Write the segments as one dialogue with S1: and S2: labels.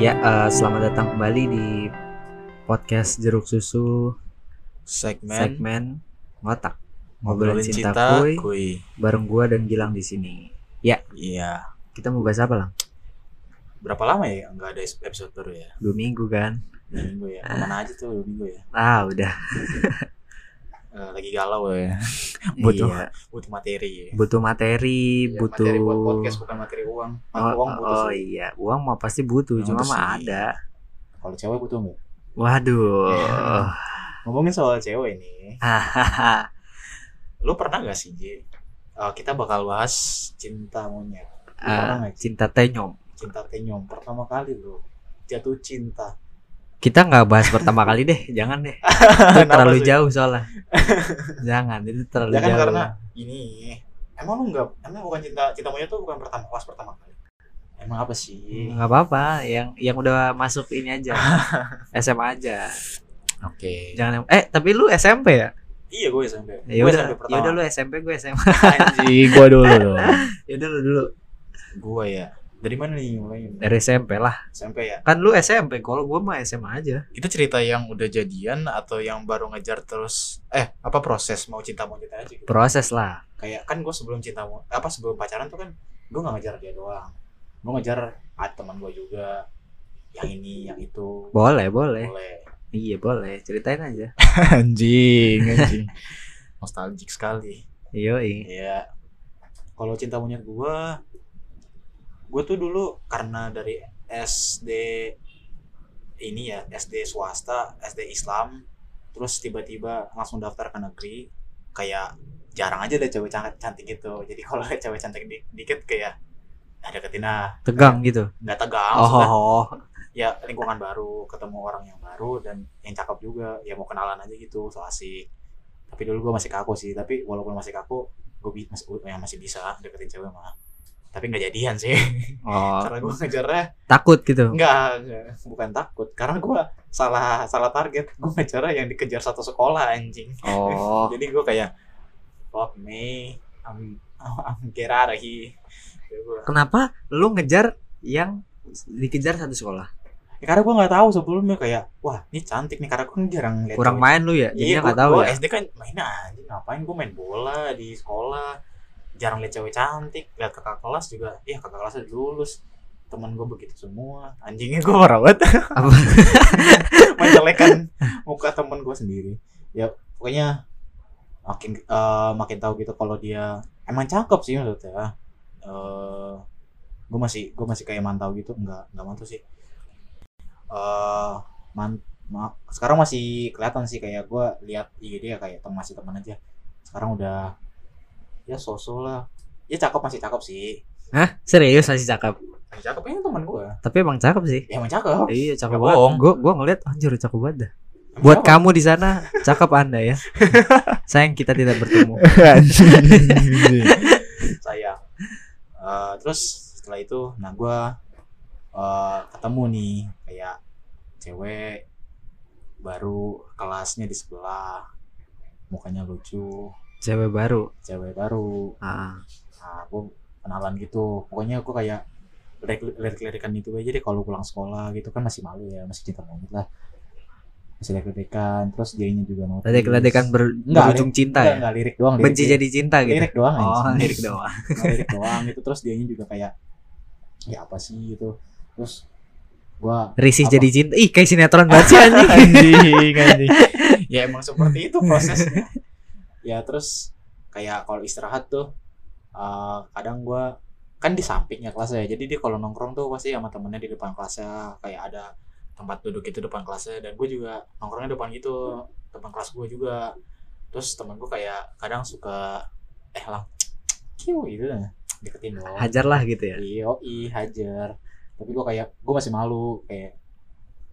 S1: Ya, eh, selamat datang kembali di podcast Jeruk Susu
S2: segmen,
S1: segmen Ngotak. Ngobrolin
S2: ngobrolin
S1: cinta,
S2: cinta,
S1: kuy.
S2: kuy.
S1: Bareng gua dan Gilang di sini.
S2: Iya.
S1: Kita mau bahas apa, Lang?
S2: Berapa lama ya nggak ada episode baru ya?
S1: Dua minggu kan?
S2: Dua minggu ya. Kemana aja tuh dua minggu ya?
S1: Ah, udah.
S2: Eh, lagi galau ya. Butuh.
S1: Iya.
S2: butuh materi ya.
S1: Butuh materi,
S2: Ya,
S1: butuh
S2: materi buat podcast bukan materi uang. Materi
S1: Oh,
S2: uang butuh
S1: oh,
S2: sih.
S1: iya, uang mah pasti butuh,
S2: Uang
S1: cuma
S2: butuh
S1: mah
S2: sih.
S1: ada. iya.
S2: Kalau cewek butuh nggak?
S1: Waduh.
S2: Ngomongin soal cewek nih, Iya,
S1: Hahaha.
S2: lu pernah nggak sih Ji? Eh, kita bakal bahas cinta monyet. Lu pernah
S1: Eh,
S2: nggak Ji?
S1: cinta tenyom.
S2: cinta tenyom pertama kali lu jatuh cinta?
S1: Kita nggak bahas pertama kali deh, jangan deh. Itu
S2: Kenapa
S1: terlalu
S2: sih?
S1: jauh soalnya. jangan, itu terlalu
S2: Ya kan
S1: jauh.
S2: karena ini emang lu nggak emang bukan cinta cinta monyet tuh bukan pertama pas pertama kali. Emang apa sih?
S1: Iya. nggak apa-apa yang yang udah masuk ini aja SMA aja
S2: Oke.
S1: jangan yang- eh tapi lu SMP ya
S2: Iya gue SMP.
S1: ya
S2: gue
S1: udah
S2: SMP
S1: ya
S2: pertama.
S1: udah lu SMP gue SMA
S2: Anjing, gue dulu dong.
S1: ya udah lu dulu
S2: gue ya. Dari mana nih mulainya?
S1: dari SMP lah
S2: SMP ya.
S1: kan lu SMP kalau gue mah SMA aja
S2: Itu cerita yang udah jadian atau yang baru ngejar terus eh apa proses mau cinta monyet aja gitu.
S1: proses lah
S2: Kayak kan gue sebelum cinta mo- apa sebelum pacaran tuh kan gue nggak ngejar dia doang. Gue ngejar ah, teman gue juga yang ini yang itu.
S1: boleh boleh
S2: Boleh.
S1: iya boleh ceritain aja
S2: anjing anjing nostalgic sekali
S1: yoi
S2: ya kalau cinta monyet gua gua tuh dulu karena dari SD ini ya SD swasta SD Islam terus tiba-tiba langsung daftar ke negeri kayak jarang aja ada cewek cantik cantik gitu jadi kalau ada cewek cantik di- dikit kayak nah deketin ah
S1: tegang gitu
S2: nggak tegang
S1: oh,
S2: maksudnya
S1: oh, oh.
S2: ya lingkungan baru ketemu orang yang baru dan yang cakep juga ya mau kenalan aja gitu so asik tapi dulu gue masih kaku sih tapi walaupun masih kaku gue bi masih gua- yang masih bisa deketin cewek mah tapi nggak jadian sih
S1: Oh,
S2: karena gue ngejarnya
S1: takut gitu
S2: nggak nggak, bukan takut karena gue salah salah target gue ngejarnya yang dikejar satu sekolah anjing
S1: oh
S2: jadi gue kayak fuck me I'm I'm get out of here." Gitu gua.
S1: kenapa lu ngejar yang dikejar satu sekolah
S2: Ya, karena gue nggak tahu sebelumnya kayak wah ini cantik nih karena gue jarang lihat
S1: kurang main lu ya
S2: Iya,
S1: jadinya nggak
S2: gua-
S1: tahu
S2: gua
S1: ya
S2: SD kan main aja ngapain gue main bola di sekolah. Jarang lihat cewek cantik, lihat kakak kelas juga. Iya, kakak kelasnya udah lulus. Temen gue begitu semua. Anjingnya gue marah banget.
S1: Apa?
S2: Menjelekan muka temen gue sendiri. Ya, pokoknya makin eh, makin tahu gitu kalau dia emang cakep sih maksudnya. Eh gue masih gue masih kayak mantau gitu, enggak enggak mantau sih. Eh man, ma- sekarang masih kelihatan sih kayak gue lihat IG dia kayak teman masih teman aja sekarang udah ya sosok lah ya cakep masih cakep sih
S1: Hah? serius masih cakep
S2: masih cakep ini teman gue
S1: tapi emang cakep sih
S2: ya emang cakep
S1: Iya cakep
S2: Nggak
S1: banget.
S2: bohong.
S1: Gue gue ngeliat anjir cakep banget dah.
S2: Emang
S1: Buat
S2: cakep.
S1: kamu di sana cakep anda ya. Sayang kita tidak bertemu.
S2: saya Eh, terus setelah itu nah gue eh, ketemu nih kayak cewek baru kelasnya di sebelah mukanya lucu
S1: Cewek baru.
S2: cewek baru
S1: Ah,
S2: nah gue kenalan gitu pokoknya gue kayak lirik-lirikan itu aja deh kalau pulang sekolah gitu kan masih malu ya masih cinta monyet lah masih lirik-lirikan terus dianya juga notice
S1: ledekan-ledekan ber,
S2: Nggak,
S1: berujung cinta
S2: enggak,
S1: ya.
S2: enggak, lirik doang lirik,
S1: Benci jadi cinta
S2: lirik,
S1: gitu.
S2: doang
S1: Oh,
S2: anjing.
S1: lirik doang.
S2: Nggak, lirik doang itu terus dianya juga kayak ya apa sih gitu terus gua
S1: Risih
S2: Apa?
S1: jadi cinta. Ih, kayak sinetron banget sih anjing.
S2: anjing anjing ya emang seperti itu prosesnya ya terus kayak kalau istirahat tuh eh, kadang gua kan di sampingnya kelasnya ya jadi dia kalau nongkrong tuh pasti sama temennya di depan kelasnya kayak ada tempat duduk itu depan kelasnya dan gue juga nongkrongnya depan gitu depan kelas gue juga terus temen gue kayak kadang suka eh lang kiu gitu dah deketin dong
S1: Hajar lah gitu ya.
S2: iyo i hajar tapi gue kayak gue masih malu kayak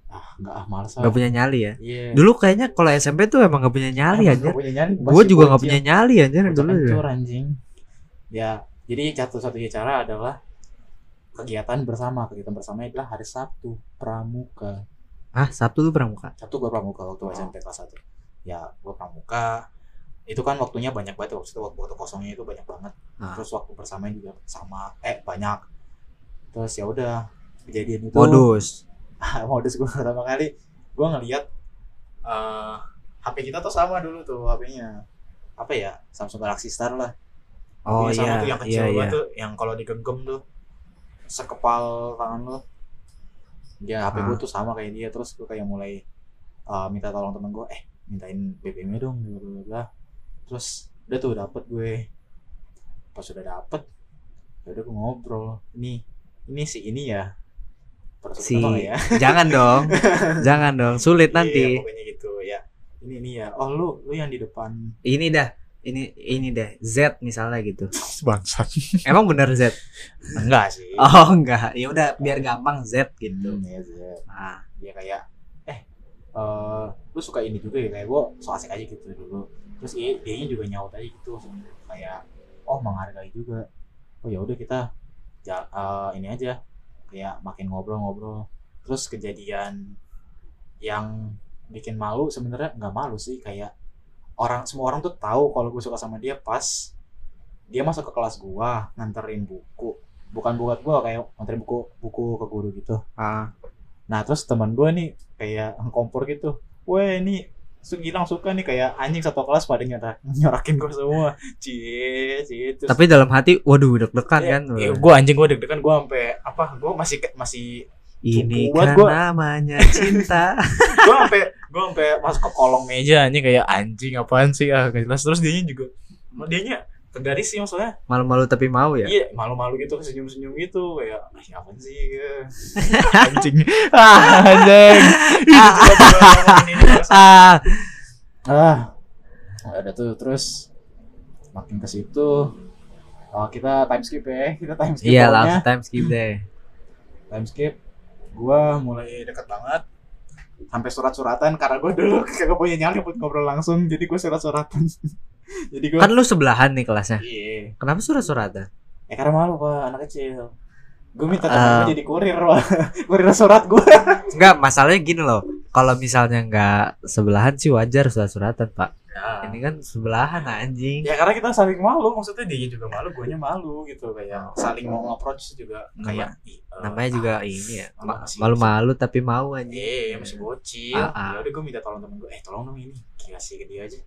S2: ah nggak ah males ah
S1: Gak punya nyali ya.
S2: Iya.
S1: Dulu kayaknya kalau SMP tuh emang gak punya nyali
S2: Emang
S1: anjir.
S2: nggak punya nyali.
S1: Gue
S2: Masih
S1: juga gak
S2: bocil.
S1: punya nyali anjir
S2: Bocah
S1: dulu. ya.
S2: kencur, anjing. Ya, jadi satu-satunya cara adalah kegiatan bersama. Kegiatan bersama adalah hari Sabtu pramuka.
S1: Ah, Sabtu lu pramuka.
S2: Sabtu gue pramuka waktu
S1: Oh.
S2: SMP kelas 1. Ya, gue pramuka. Itu kan waktunya banyak banget waktu itu waktu, waktu kosongnya itu banyak banget.
S1: Ah.
S2: Terus waktu bersamanya juga sama eh banyak. Terus ya udah kejadian itu
S1: Modus.
S2: modus gue pertama kali gue ngeliat eh HP kita tuh sama dulu tuh HP-nya apa ya Samsung Galaxy Star lah
S1: Oh
S2: Yang sama
S1: iya,
S2: tuh yang kecil
S1: iya, iya.
S2: banget tuh yang kalau digenggam tuh sekepal tangan lo ya HP
S1: Ah.
S2: gue tuh sama kayak dia terus gue kayak mulai eh, minta tolong temen gue eh mintain BBM nya dong bla bla bla, bla terus udah tuh dapet gue pas udah dapet ya udah gue ngobrol ini ini si ini ya Persebutan
S1: Si
S2: apa nggak ya
S1: jangan dong. jangan dong, sulit
S2: Iya,
S1: nanti.
S2: pokoknya gitu ya ini ini ya oh lu lu yang di depan
S1: Ini dah, ini ini dah Z misalnya gitu.
S2: bangsat
S1: Emang bener Z?
S2: enggak sih
S1: Oh enggak, ya udah biar gampang Z gitu.
S2: Hmm, iya sih, ya.
S1: Nah,
S2: dia kayak eh eh lu suka ini juga ya kayak gua so asik aja gitu dulu terus dia dianya juga nyaut aja gitu kayak oh menghargai juga oh ya udah kita ja- eh, ini aja kayak makin ngobrol-ngobrol terus kejadian yang bikin malu sebenarnya nggak malu sih kayak orang semua orang tuh tahu kalau gue suka sama dia pas dia masuk ke kelas gua nganterin buku bukan buat gua kayak nganterin buku buku ke guru gitu
S1: ah,
S2: Nah terus teman gue nih kayak kompor gitu. Weh ini Sugilang suka nih kayak anjing satu kelas pada nyorak, nyorakin gue semua. Cie, cie. Terus,
S1: tapi dalam hati, waduh deg-degan
S2: Iya.
S1: kan.
S2: gue anjing gue deg-degan gue sampai apa? Gue masih ke- masih
S1: ini kan
S2: cupu banget Iya, gua.
S1: namanya cinta.
S2: gue sampai gue sampai masuk ke kolong meja anjing kayak anjing apaan sih ah gak jelas. Terus dianya juga dianya tegaris sih maksudnya.
S1: Malu-malu tapi mau ya.
S2: Iya, malu-malu gitu senyum-senyum gitu kayak ah siapa sih gitu. anjing. Ah, anjing. Ini juga gua ngomongin ini, bangsa.
S1: Ah,
S2: ah ada tuh terus makin ke situ oh, kita time skip ya kita time skip
S1: iya
S2: pokoknya.
S1: langsung time skip deh.
S2: time skip gua mulai deket banget sampai surat-suratan karena gua dulu kagak punya nyali buat ngobrol langsung jadi gua surat-suratan jadi gua
S1: Kan lu sebelahan nih kelasnya.
S2: iya
S1: Kenapa surat-suratan?
S2: ya karena malu pak anak kecil gua minta temen
S1: Ah.
S2: gua jadi kurir pak kurir surat gua
S1: Enggak, masalahnya gini loh. Kalau misalnya enggak sebelahan sih wajar surat-suratan, Pak. Ini kan sebelahan anjing.
S2: ya karena kita saling malu maksudnya dia juga malu guanya malu gitu kayak saling mau approach juga kayak ih, eh,
S1: Namanya juga ini ya.
S2: Malu-
S1: ma- Malu-malu tapi mau anjing.
S2: Iya, masih bocil.
S1: Ah, ah.
S2: Ya udah gue minta tolong temen gue, eh tolong dong ini, kasih ke dia aja.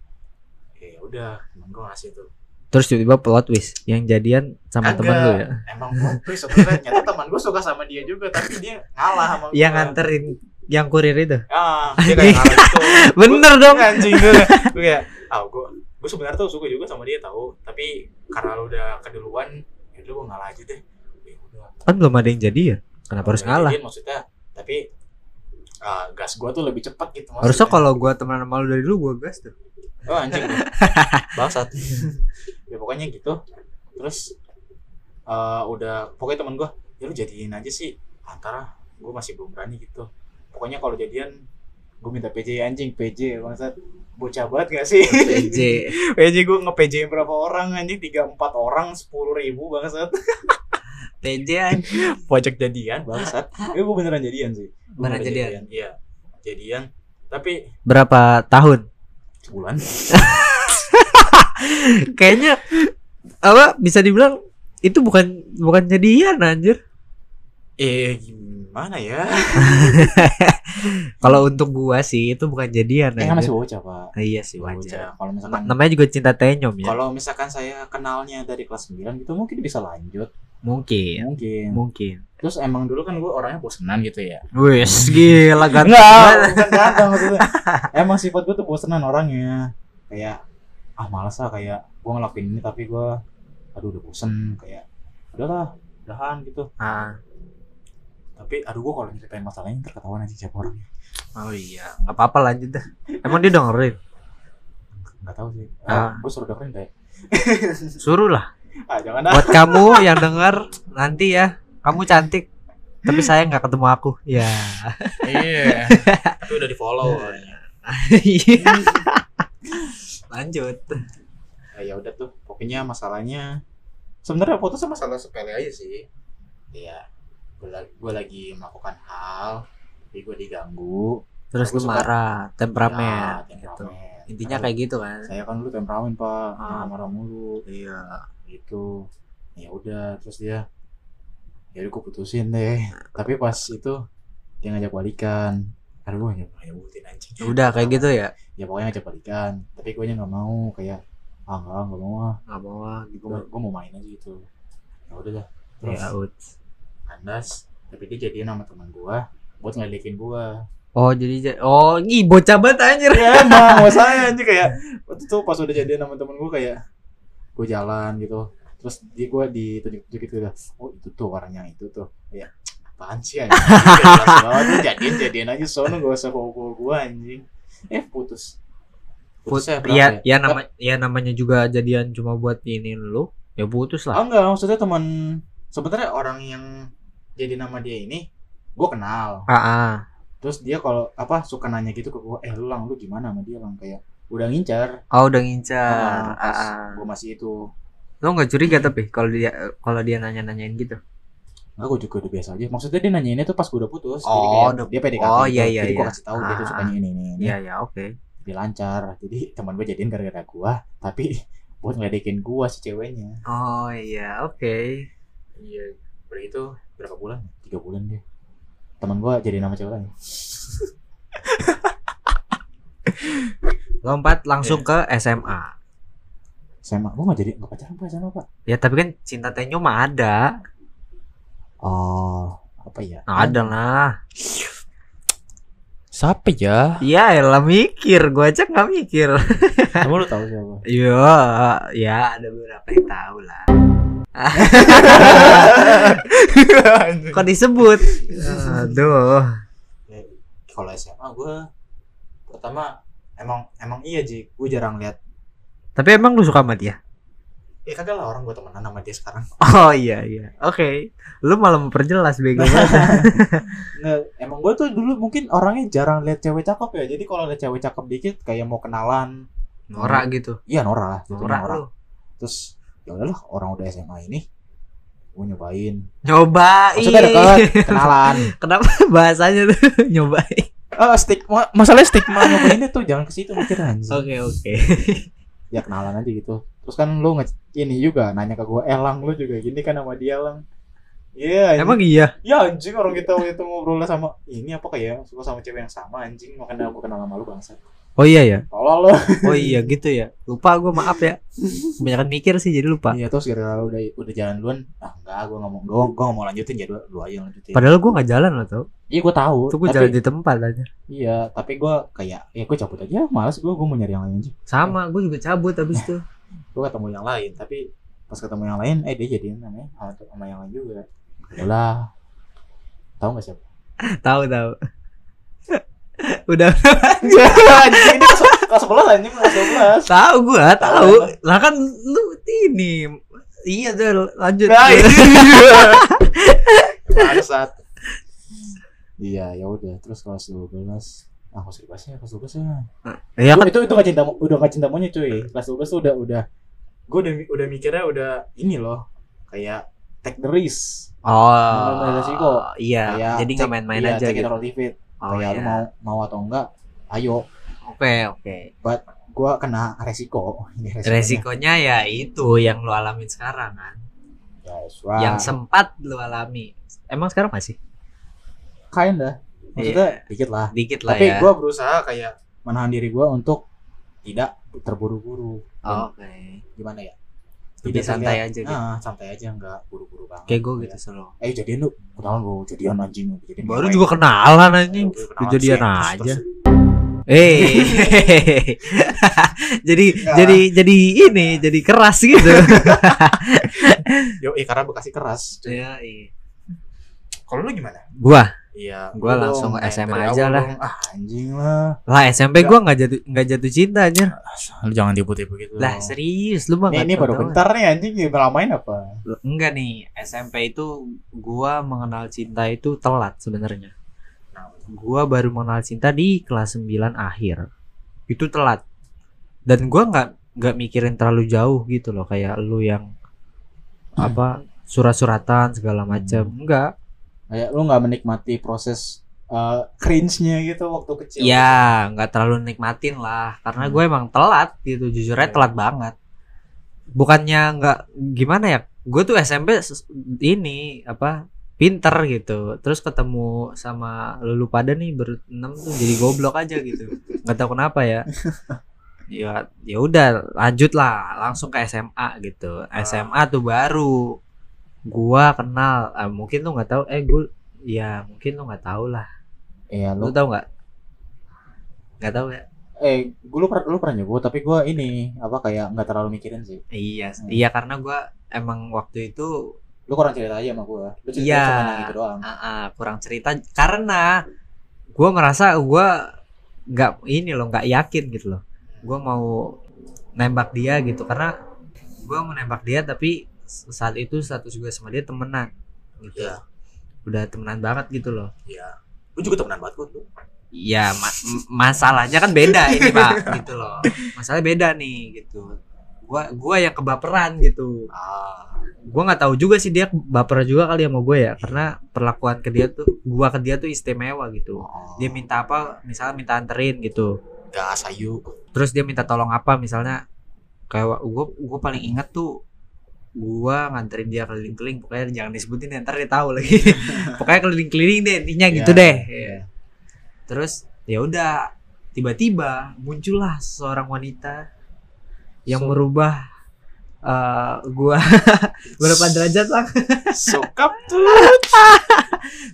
S2: Ya udah, temen gue ngasih tuh.
S1: Terus tiba-tiba plot twist yang jadian sama
S2: Kagak.
S1: temen lu ya.
S2: Emang plot twist sebenarnya ternyata teman gue suka sama dia juga, tapi dia ngalah sama gue.
S1: Yang nganterin yang kurir itu.
S2: Ah, dia kayak ngalah gitu.
S1: Iya. Bener
S2: Gue
S1: dong.
S2: anjing gue. Gue kayak, ah gue, gue sebenarnya tuh suka juga sama dia tahu, tapi karena lu udah keduluan, ya udah gue ngalah aja deh. Ya udah.
S1: Kan belum ada yang jadi ya. Kenapa harus
S2: Nggak
S1: ngalah?
S2: jadian Maksudnya, tapi ah, gas gue tuh lebih cepat gitu. maksudnya.
S1: Harusnya kalau gua temenan sama lu dari dulu gua gas tuh.
S2: Oh anjing Bangsat Ya pokoknya gitu Terus eh, Udah Pokoknya temen gue Ya lu jadiin aja sih Antara Gue masih belum berani gitu Pokoknya kalau jadian Gue minta PJ anjing PJ Bangsat Bocah banget gak sih
S1: PJ.
S2: PJ gue nge-PJ berapa orang anjing 3-4 orang 10 ribu bangsat
S1: PJ anjing.
S2: Pojok jadian bangsat Ya gue beneran jadian sih Gua
S1: Beneran jadian?
S2: Iya Jadian Tapi
S1: Berapa tahun?
S2: Sebulan
S1: Kayaknya apa bisa dibilang itu bukan bukan jadian anjir. Iya,
S2: Eh gimana ya
S1: Kalau untuk gua sih itu bukan jadian
S2: Eh kan
S1: anjir.
S2: masih bocah pak
S1: Ah, iya sih wajar.
S2: Bocah. Kalau misalkan
S1: Na- namanya juga cinta tenyum ya.
S2: Kalau misalkan saya kenalnya dari kelas 9 gitu mungkin bisa lanjut.
S1: Mungkin,
S2: Mungkin.
S1: mungkin.
S2: Terus emang dulu kan gue orangnya bosenan gitu ya.
S1: Wes gila ganteng. banget.
S2: Enggak, bukan ganteng maksudnya. Emang sifat gue tuh bosenan orangnya. Kayak ah males lah kayak gue ngelakuin ini tapi gue aduh udah bosen kayak udahlah udahan gitu
S1: Ah,
S2: tapi aduh gue kalau nyeritain masalahnya ntar ketahuan aja siapa orangnya
S1: oh iya, nggak apa-apa lanjut dah. Emang dia ya? dengerin?
S2: nggak tahu sih
S1: Ah.
S2: gue suruh dengerin kayak
S1: Suruh lah.
S2: ah jangan ah
S1: Buat kamu yang denger nanti ya, kamu cantik. Tapi saya nggak ketemu aku. Ya.
S2: iya tapi udah di follow
S1: Iya. lanjut.
S2: Nah, ya udah tuh pokoknya masalahnya sebenarnya foto sama masalah sepele aja sih iya gue lagi, lagi melakukan hal tapi gue diganggu
S1: Terus
S2: Aku
S1: lu
S2: suka-
S1: marah, temperamen
S2: Ya,
S1: gitu.
S2: temperamen.
S1: Intinya
S2: Aduh,
S1: kayak gitu kan.
S2: saya kan dulu temperamen pak
S1: Ah.
S2: marah mulu
S1: Iya.
S2: gitu ya udah terus dia ya udah gue putusin deh tapi pas itu dia ngajak balikan ya, karena gue hanya nyebutin anjing
S1: udah kayak gitu ya
S2: ya pokoknya ngajak balikan tapi gue nya nggak mau kayak ah nggak nggak mau ah
S1: nggak mau lah gitu
S2: gue gue mau main aja gitu ya udah dah terus
S1: ya ut
S2: kandas tapi dia jadian sama teman gue buat ngeledekin gue
S1: oh jadi ja- oh ih bocah banget anjir
S2: ya emang mau saya anjir kayak waktu itu pas udah jadian sama temen gue kayak gue jalan gitu terus dia gue ditunjuk-tunjuk gitu dah oh itu tuh orangnya itu tuh ya apaan sih anjing Jelas banget, lu jadian jadian aja sono gak usah bawa gue anjing eh putus
S1: Put,
S2: ya, berapa
S1: ya, ya
S2: Berapa?
S1: nama ya namanya juga jadian cuma buat ini lu ya putus lah
S2: Ah enggak, maksudnya teman sebenarnya orang yang jadi nama dia ini gue kenal.
S1: ah ah
S2: Terus dia kalau apa suka nanya gitu ke gue, eh lu lang lu gimana sama dia lang kayak udah ngincar.
S1: oh udah ngincar ah,
S2: Nah, pas
S1: ah.
S2: Gue masih itu.
S1: lo nggak curiga tapi kalau dia kalau dia nanya nanyain gitu
S2: Enggak gue juga udah biasa aja. Maksudnya dia nanyainnya tuh pas gue udah putus.
S1: Oh,
S2: kayak
S1: udah-
S2: dia PDKT.
S1: oh,
S2: gitu.
S1: iya, iya,
S2: Jadi gue
S1: iya.
S2: kasih tahu dia tuh suka
S1: Ah.
S2: ini ini ini.
S1: Iya ya oke
S2: Dia lancar. Jadi teman gue jadiin gara-gara gue, tapi buat ngeledekin gue si ceweknya.
S1: oh iya oke
S2: Iya. Berarti itu berapa bulan? Tiga bulan dia. Teman gue jadi nama cewek lain.
S1: lompat langsung ke SMA
S2: SMA gue gak jadi gak pacaran pak SMA pak
S1: ya tapi kan cinta tenyo mah ada
S2: Oh, apa ya?
S1: ada lah
S3: Siapa ya?
S1: Iya, elah mikir, gua aja nggak mikir.
S2: Kamu lu tahu siapa?
S1: Iya, ya ada beberapa yang tahu lah. Kok disebut? Aduh.
S2: Kalau SMA gue pertama emang emang iya Ji, gue jarang lihat.
S1: Tapi emang lu suka sama dia?
S2: Ya kagak lah orang gue temenan sama dia sekarang.
S1: Oh iya iya. Oke. Lu malah memperjelas bego banget.
S2: Nggak, emang gue tuh dulu mungkin orangnya jarang lihat cewek cakep ya. Jadi kalau lihat cewek cakep dikit kayak mau kenalan.
S1: Norak gitu.
S2: Iya Nora, gitu
S1: Norak lu.
S2: Terus ya udahlah orang udah SMA ini gue nyobain
S1: Nyobain.
S2: Maksudnya deket. kenalan
S1: Kenapa bahasanya tuh nyobain?
S2: oh, stigma masalahnya stigma nyobain itu jangan ke situ mikir anjing
S1: Oke oke.
S2: ya kenalan aja gitu terus kan lu nge ini juga nanya ke gue elang lu juga gini kan sama dia lang iya anjing.
S1: Emang iya.
S2: ya anjing orang kita waktu itu ngobrolnya sama ini apa kayak suka sama cewek yang sama anjing makanya aku kenal sama lu bangsa
S1: Oh iya ya.
S2: tolol lu
S1: Oh iya gitu ya. Lupa gua maaf ya. Kebanyakan mikir sih jadi lupa.
S2: iya terus gara-gara lu udah udah jalan duluan ah enggak gue nggak mau gue gue nggak mau lanjutin jadi lu aja yang lanjutin
S1: Padahal gua nggak jalan loh tau.
S2: iya gue tahu
S1: Itu gua
S2: tapi
S1: jalan di tempat aja.
S2: iya tapi gue kayak ya gue cabut aja malas gue gue mau nyari yang lain aja
S1: Sama, gue juga cabut abis itu.
S2: gue ketemu yang lain tapi pas ketemu yang lain eh dia jadian namanya sama sama yang lain juga udah tahu nggak siapa
S1: tahu tahu. Udah
S2: Iya. Anjing, ini kelas- kelas 11 anjing kelas 11
S1: tahu gua,
S2: Tahu.
S1: tahu. Lah kan lu ini. Iya tuh lanjut.
S2: Nah, Bangsat. Iya, ya udah. Terus kelas 12. Ah, kelas 12 ya, kelas 12 ya.
S1: Iya
S2: Itu
S1: kan
S2: itu itu gak cinta udah gak cinta monyet cuy. Kelas 12 tuh udah udah gue udah udah mikirnya udah ini loh. Kayak take the risk. Bener-bener resiko.
S1: Oh. Iya,
S2: Kayak
S1: jadi nggak
S2: take-
S1: main-main
S2: iya,
S1: aja
S2: Take it
S1: gitu.
S2: or leave it.
S1: Oh,
S2: kayak lu
S1: iya.
S2: mau mau atau enggak, ayo.
S1: Oke, oke.
S2: Gua kena resiko. Ini resikonya.
S1: Resikonya ya itu yang lu alamin sekarang kan.
S2: That's right.
S1: Yang sempat lu alami. Emang sekarang masih
S2: kinda.
S1: Iya.
S2: Maksudnya dikit lah.
S1: dikit lah
S2: Tapi
S1: ya.
S2: gua berusaha kayak menahan diri gua untuk tidak terburu-buru.
S1: Oh, Oke.
S2: Gimana ya?
S1: Lebih santai aja
S2: gitu.
S1: gitu.
S2: santai aja nggak buru-buru banget.
S1: Kayak gue gitu selalu.
S2: Eh jadian lu, kenalan lu, jadian anjing. Jadian
S1: Baru
S2: ngapain?
S1: juga kenalan anjing.
S2: Aduh, kenalan
S1: Kejadian
S2: sih, terus-
S1: aja.
S2: terus-
S1: Eh, jadi
S2: Enggak.
S1: jadi jadi ini jadi keras gitu.
S2: Yo, eh karena bekasi keras.
S1: ya, iya.
S2: Kalau lu gimana?
S1: Gua
S2: Iya.
S1: Gua
S2: lu
S1: langsung ke
S2: dong, eh,
S1: SMA
S2: dari
S1: aja
S2: awal
S1: lah.
S2: dong. Ah anjing lah.
S1: lah SMP gua nggak jatuh nggak jatuh cinta anjir.
S2: Lu jangan tipu-tipu gitu.
S1: Lah serius lu mah
S2: Ini,
S1: nggak
S2: Nah, ini
S1: tahu
S2: baru
S1: doang.
S2: bentar nih anjing ya, beramain apa?
S1: Enggak nih, SMP itu gua mengenal cinta itu telat sebenarnya. Nah, Gua baru mengenal cinta di kelas 9 akhir. Itu telat. Dan gua nggak nggak mikirin terlalu jauh gitu loh kayak lu yang apa surat-suratan segala macam. Enggak.
S2: Kayak lu nggak menikmati proses eh, cringe-nya gitu waktu kecil. Hmm.
S1: Ya, nggak terlalu nikmatin lah, karena gue emang telat gitu, jujur aja
S2: Iya.
S1: telat banget. Bukannya nggak gimana ya? Gue tuh SMP ses- ini apa pinter gitu terus ketemu sama lulu pada nih berenam tuh jadi goblok aja gitu nggak tahu kenapa ya ya ya udah lanjut lah langsung ke SMA gitu
S2: Ah.
S1: SMA tuh baru gua kenal ah, mungkin lu nggak tahu eh gua ya mungkin lu nggak tahu lah
S2: Iya,
S1: lu
S2: lu
S1: tahu nggak nggak tahu ya
S2: eh gue lu, per- lu pernah nyebut tapi gue ini apa kayak nggak terlalu mikirin sih.
S1: iya
S2: Hmm.
S1: iya karena gua emang waktu itu
S2: Lu kurang cerita aja sama gue. Lu cerita
S1: Iya.
S2: cuma yang gitu doang.
S1: Ah, ah, kurang cerita karena gua merasa gua nggak ini loh nggak yakin gitu loh gua mau nembak dia gitu karena gua mau nembak dia tapi saat itu status gue sama dia temenan gitu
S2: Iya.
S1: udah temenan banget gitu loh
S2: Iya. Lu juga temenan banget gue.
S1: Iya, ma- m- masalahnya kan beda ini pak, gitu loh. Masalahnya beda nih, gitu. Gua, gua yang kebaperan gitu.
S2: Ah.
S1: Gua nggak tahu juga sih dia baper juga kali sama gue ya, karena perlakuan ke dia tuh, gua ke dia tuh istimewa gitu. Dia minta apa, misalnya minta anterin gitu.
S2: gas ayu.
S1: Terus dia minta tolong apa, misalnya kayak gua, gua paling inget tuh gua nganterin dia keliling-keliling pokoknya jangan disebutin ya, ntar dia tahu lagi pokoknya keliling-keliling deh intinya gitu
S2: Iya.
S1: deh Iya. terus ya udah tiba-tiba muncullah seorang wanita yang
S2: So-
S1: merubah eh, gua berapa derajat lah
S2: Sokap tuh.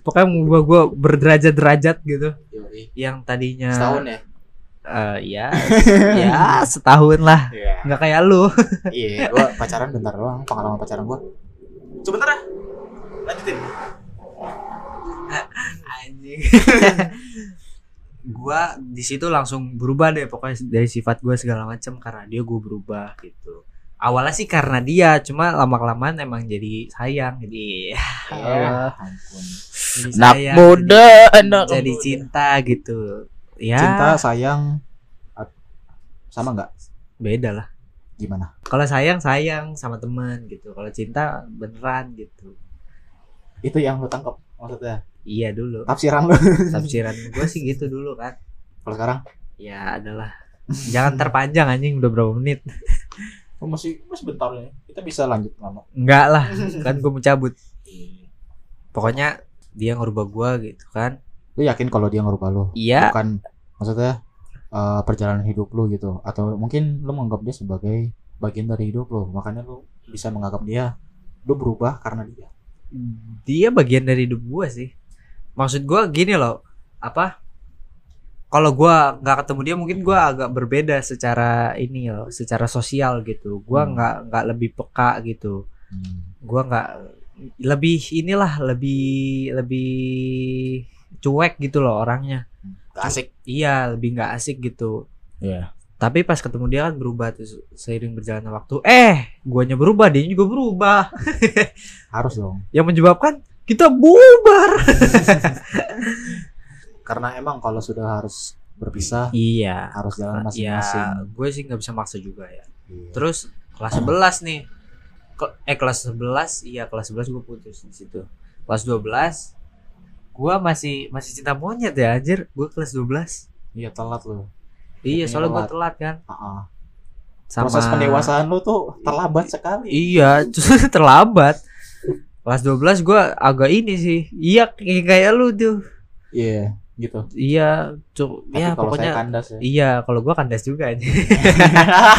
S1: pokoknya mengubah gua berderajat-derajat gitu
S2: Yoi.
S1: yang tadinya
S2: Setahun ya?
S1: eh, ya ya setahun lah
S2: Iya.
S1: nggak kayak lu
S2: Iya, gua pacaran bentar doang, pengalaman pacaran gua. Sebentar ya. Lanjutin.
S1: anjing gua di situ langsung berubah deh pokoknya dari sifat gua segala macam karena dia gua berubah gitu awalnya sih karena dia cuma lama kelamaan emang jadi sayang jadi
S2: Ya, ampun.
S1: jadi
S3: Anak
S1: Iya. sayang,
S3: muda,
S1: jadi,
S3: anak
S1: jadi
S2: muda.
S1: cinta gitu ya
S2: Cinta, sayang at- sama nggak?
S1: beda lah
S2: Gimana?
S1: kalau sayang sayang sama temen gitu kalau cinta beneran gitu
S2: Itu yang lu tangkap maksudnya.
S1: iya dulu
S2: Tafsiran lu.
S1: tafsiran gua sih gitu dulu kan
S2: Kalau sekarang
S1: ya adalah jangan terpanjang anjing udah berapa menit
S2: oh, masih masih bentar ya. Kita bisa lanjut lama.
S1: enggak lah kan gue mencabut pokoknya dia ngerubah gua gitu kan
S2: Lu yakin kalau dia ngerubah lu?
S1: iya
S2: Bukan maksudnya eh, perjalanan hidup lu gitu atau mungkin lu menganggap dia sebagai bagian dari hidup lu. Makanya lu bisa menganggap dia lu berubah karena dia. Hmm.
S1: dia bagian dari hidup gua sih maksud gua gini loh apa kalau gua nggak ketemu dia mungkin gua agak berbeda secara ini loh secara sosial gitu gua
S2: Hmm.
S1: nggak nggak lebih peka gitu
S2: Hmm.
S1: gua nggak lebih inilah lebih lebih cuek gitu loh orangnya
S2: Asik.
S1: iya lebih nggak asik gitu
S2: Iya.
S1: Tapi pas ketemu dia kan berubah tuh se- seiring berjalannya waktu. Eh, guanya berubah, dia juga berubah.
S2: Harus dong.
S1: Yang menyebabkan kita bubar.
S2: karena emang kalau sudah harus berpisah
S1: Iya.
S2: harus jalan
S1: Ya,
S2: masing-masing.
S1: gue sih nggak bisa maksa juga ya.
S2: Iya.
S1: Terus kelas 11 nih. Ke- eh kelas 11, iya kelas 11 gue putus di situ. Kelas 12 gue masih masih cinta monyet ya anjir. Gue kelas 12.
S2: Iya telat lu.
S1: Iya,
S2: Tapi
S1: soalnya gue
S2: telat.
S1: telat kan.
S2: Heeh.
S1: Sama
S2: Proses pendewasaan lu tuh terlambat sekali.
S1: Iya, justru terlambat. Kelas 12 gua agak ini sih. Iya, kayak kayak lu tuh.
S2: Iya, gitu.
S1: Iya, cu-
S2: Tapi
S1: ya
S2: kalau
S1: pokoknya
S2: saya kandas ya.
S1: iya, kalau gua kandas juga aja.
S2: Iya.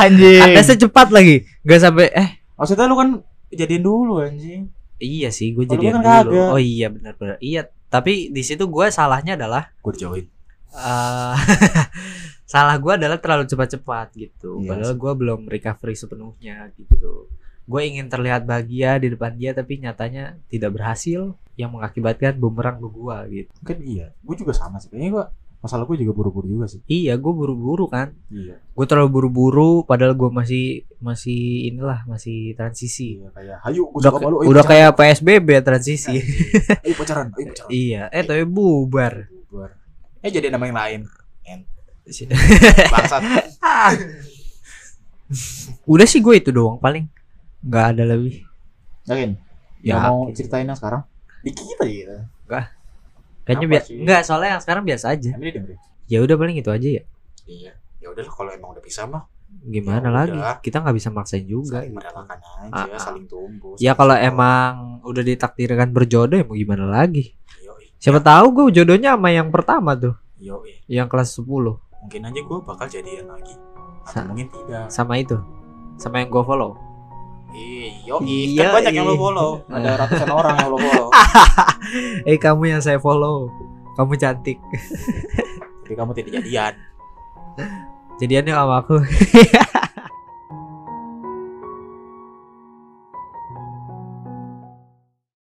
S3: Anjing.
S1: Kandasnya cepat lagi. Gak sampai eh
S2: Maksudnya lu kan jadian dulu anjing.
S1: iya sih gua
S2: Kalau
S1: jadi
S2: gua kan
S1: dulu.
S2: kagak.
S1: Oh iya benar benar. Iya, tapi di situ gua salahnya adalah
S2: Gue dijauhin.
S1: eh salah gua adalah terlalu cepat-cepat gitu.
S2: Iya
S1: Padahal
S2: sih.
S1: gua belum recovery sepenuhnya gitu. Gue ingin terlihat bahagia di depan dia tapi nyatanya tidak berhasil yang mengakibatkan bumerang ke gua gitu.
S2: Kan iya. Gue juga sama sih. Kayaknya gue masalah gue juga buru-buru juga sih.
S1: Iya, gue buru-buru kan.
S2: Iya.
S1: Gue terlalu buru-buru, padahal gue masih masih inilah masih transisi.
S2: Iya kayak hayu gue
S1: Udah,
S2: suka malu. eh, Iya,
S1: udah kayak PSBB transisi.
S2: gitu. ayo pacaran, ayo pacaran.
S1: iya, eh tapi bubar.
S2: Bubar. Eh jadi nama yang lain.
S1: Sih.
S2: Bangsat.
S1: udah sih gue itu doang paling. Nggak ada lebih.
S2: Yakin? Ya
S1: Ya,
S2: mau ceritain yang sekarang? Dikit aja gitu.
S1: kayaknya
S2: apa
S1: biasa.
S2: sih?
S1: Enggak, soalnya yang sekarang biasa aja.
S2: Emang dia dengerin?
S1: Ya udah paling itu aja ya.
S2: Iya. Ya udahlah kalau emang udah pisah mah
S1: gimana
S2: Ya
S1: lagi
S2: udah.
S1: kita nggak bisa maksain juga
S2: saling merelakan aja,
S1: Ah, ah.
S2: saling tumbuh.
S1: ya
S2: saling
S1: kalau
S2: berkembang.
S1: emang udah ditakdirkan berjodoh ya mau gimana lagi
S2: Yoi,
S1: siapa tahu gue jodohnya sama yang pertama tuh
S2: yoi.
S1: yang kelas 10
S2: mungkin aja gue bakal jadian lagi. Atau
S1: Sa-
S2: mungkin tidak.
S1: sama itu sama yang gue follow
S2: Eh, yoi.
S1: Iya,
S2: Kan banyak yang
S1: iya.
S2: lo follow. Ada ratusan orang yang lo follow.
S1: eh kamu yang saya follow kamu cantik
S2: Tapi kamu tidak jadian.
S1: jadiannya sama aku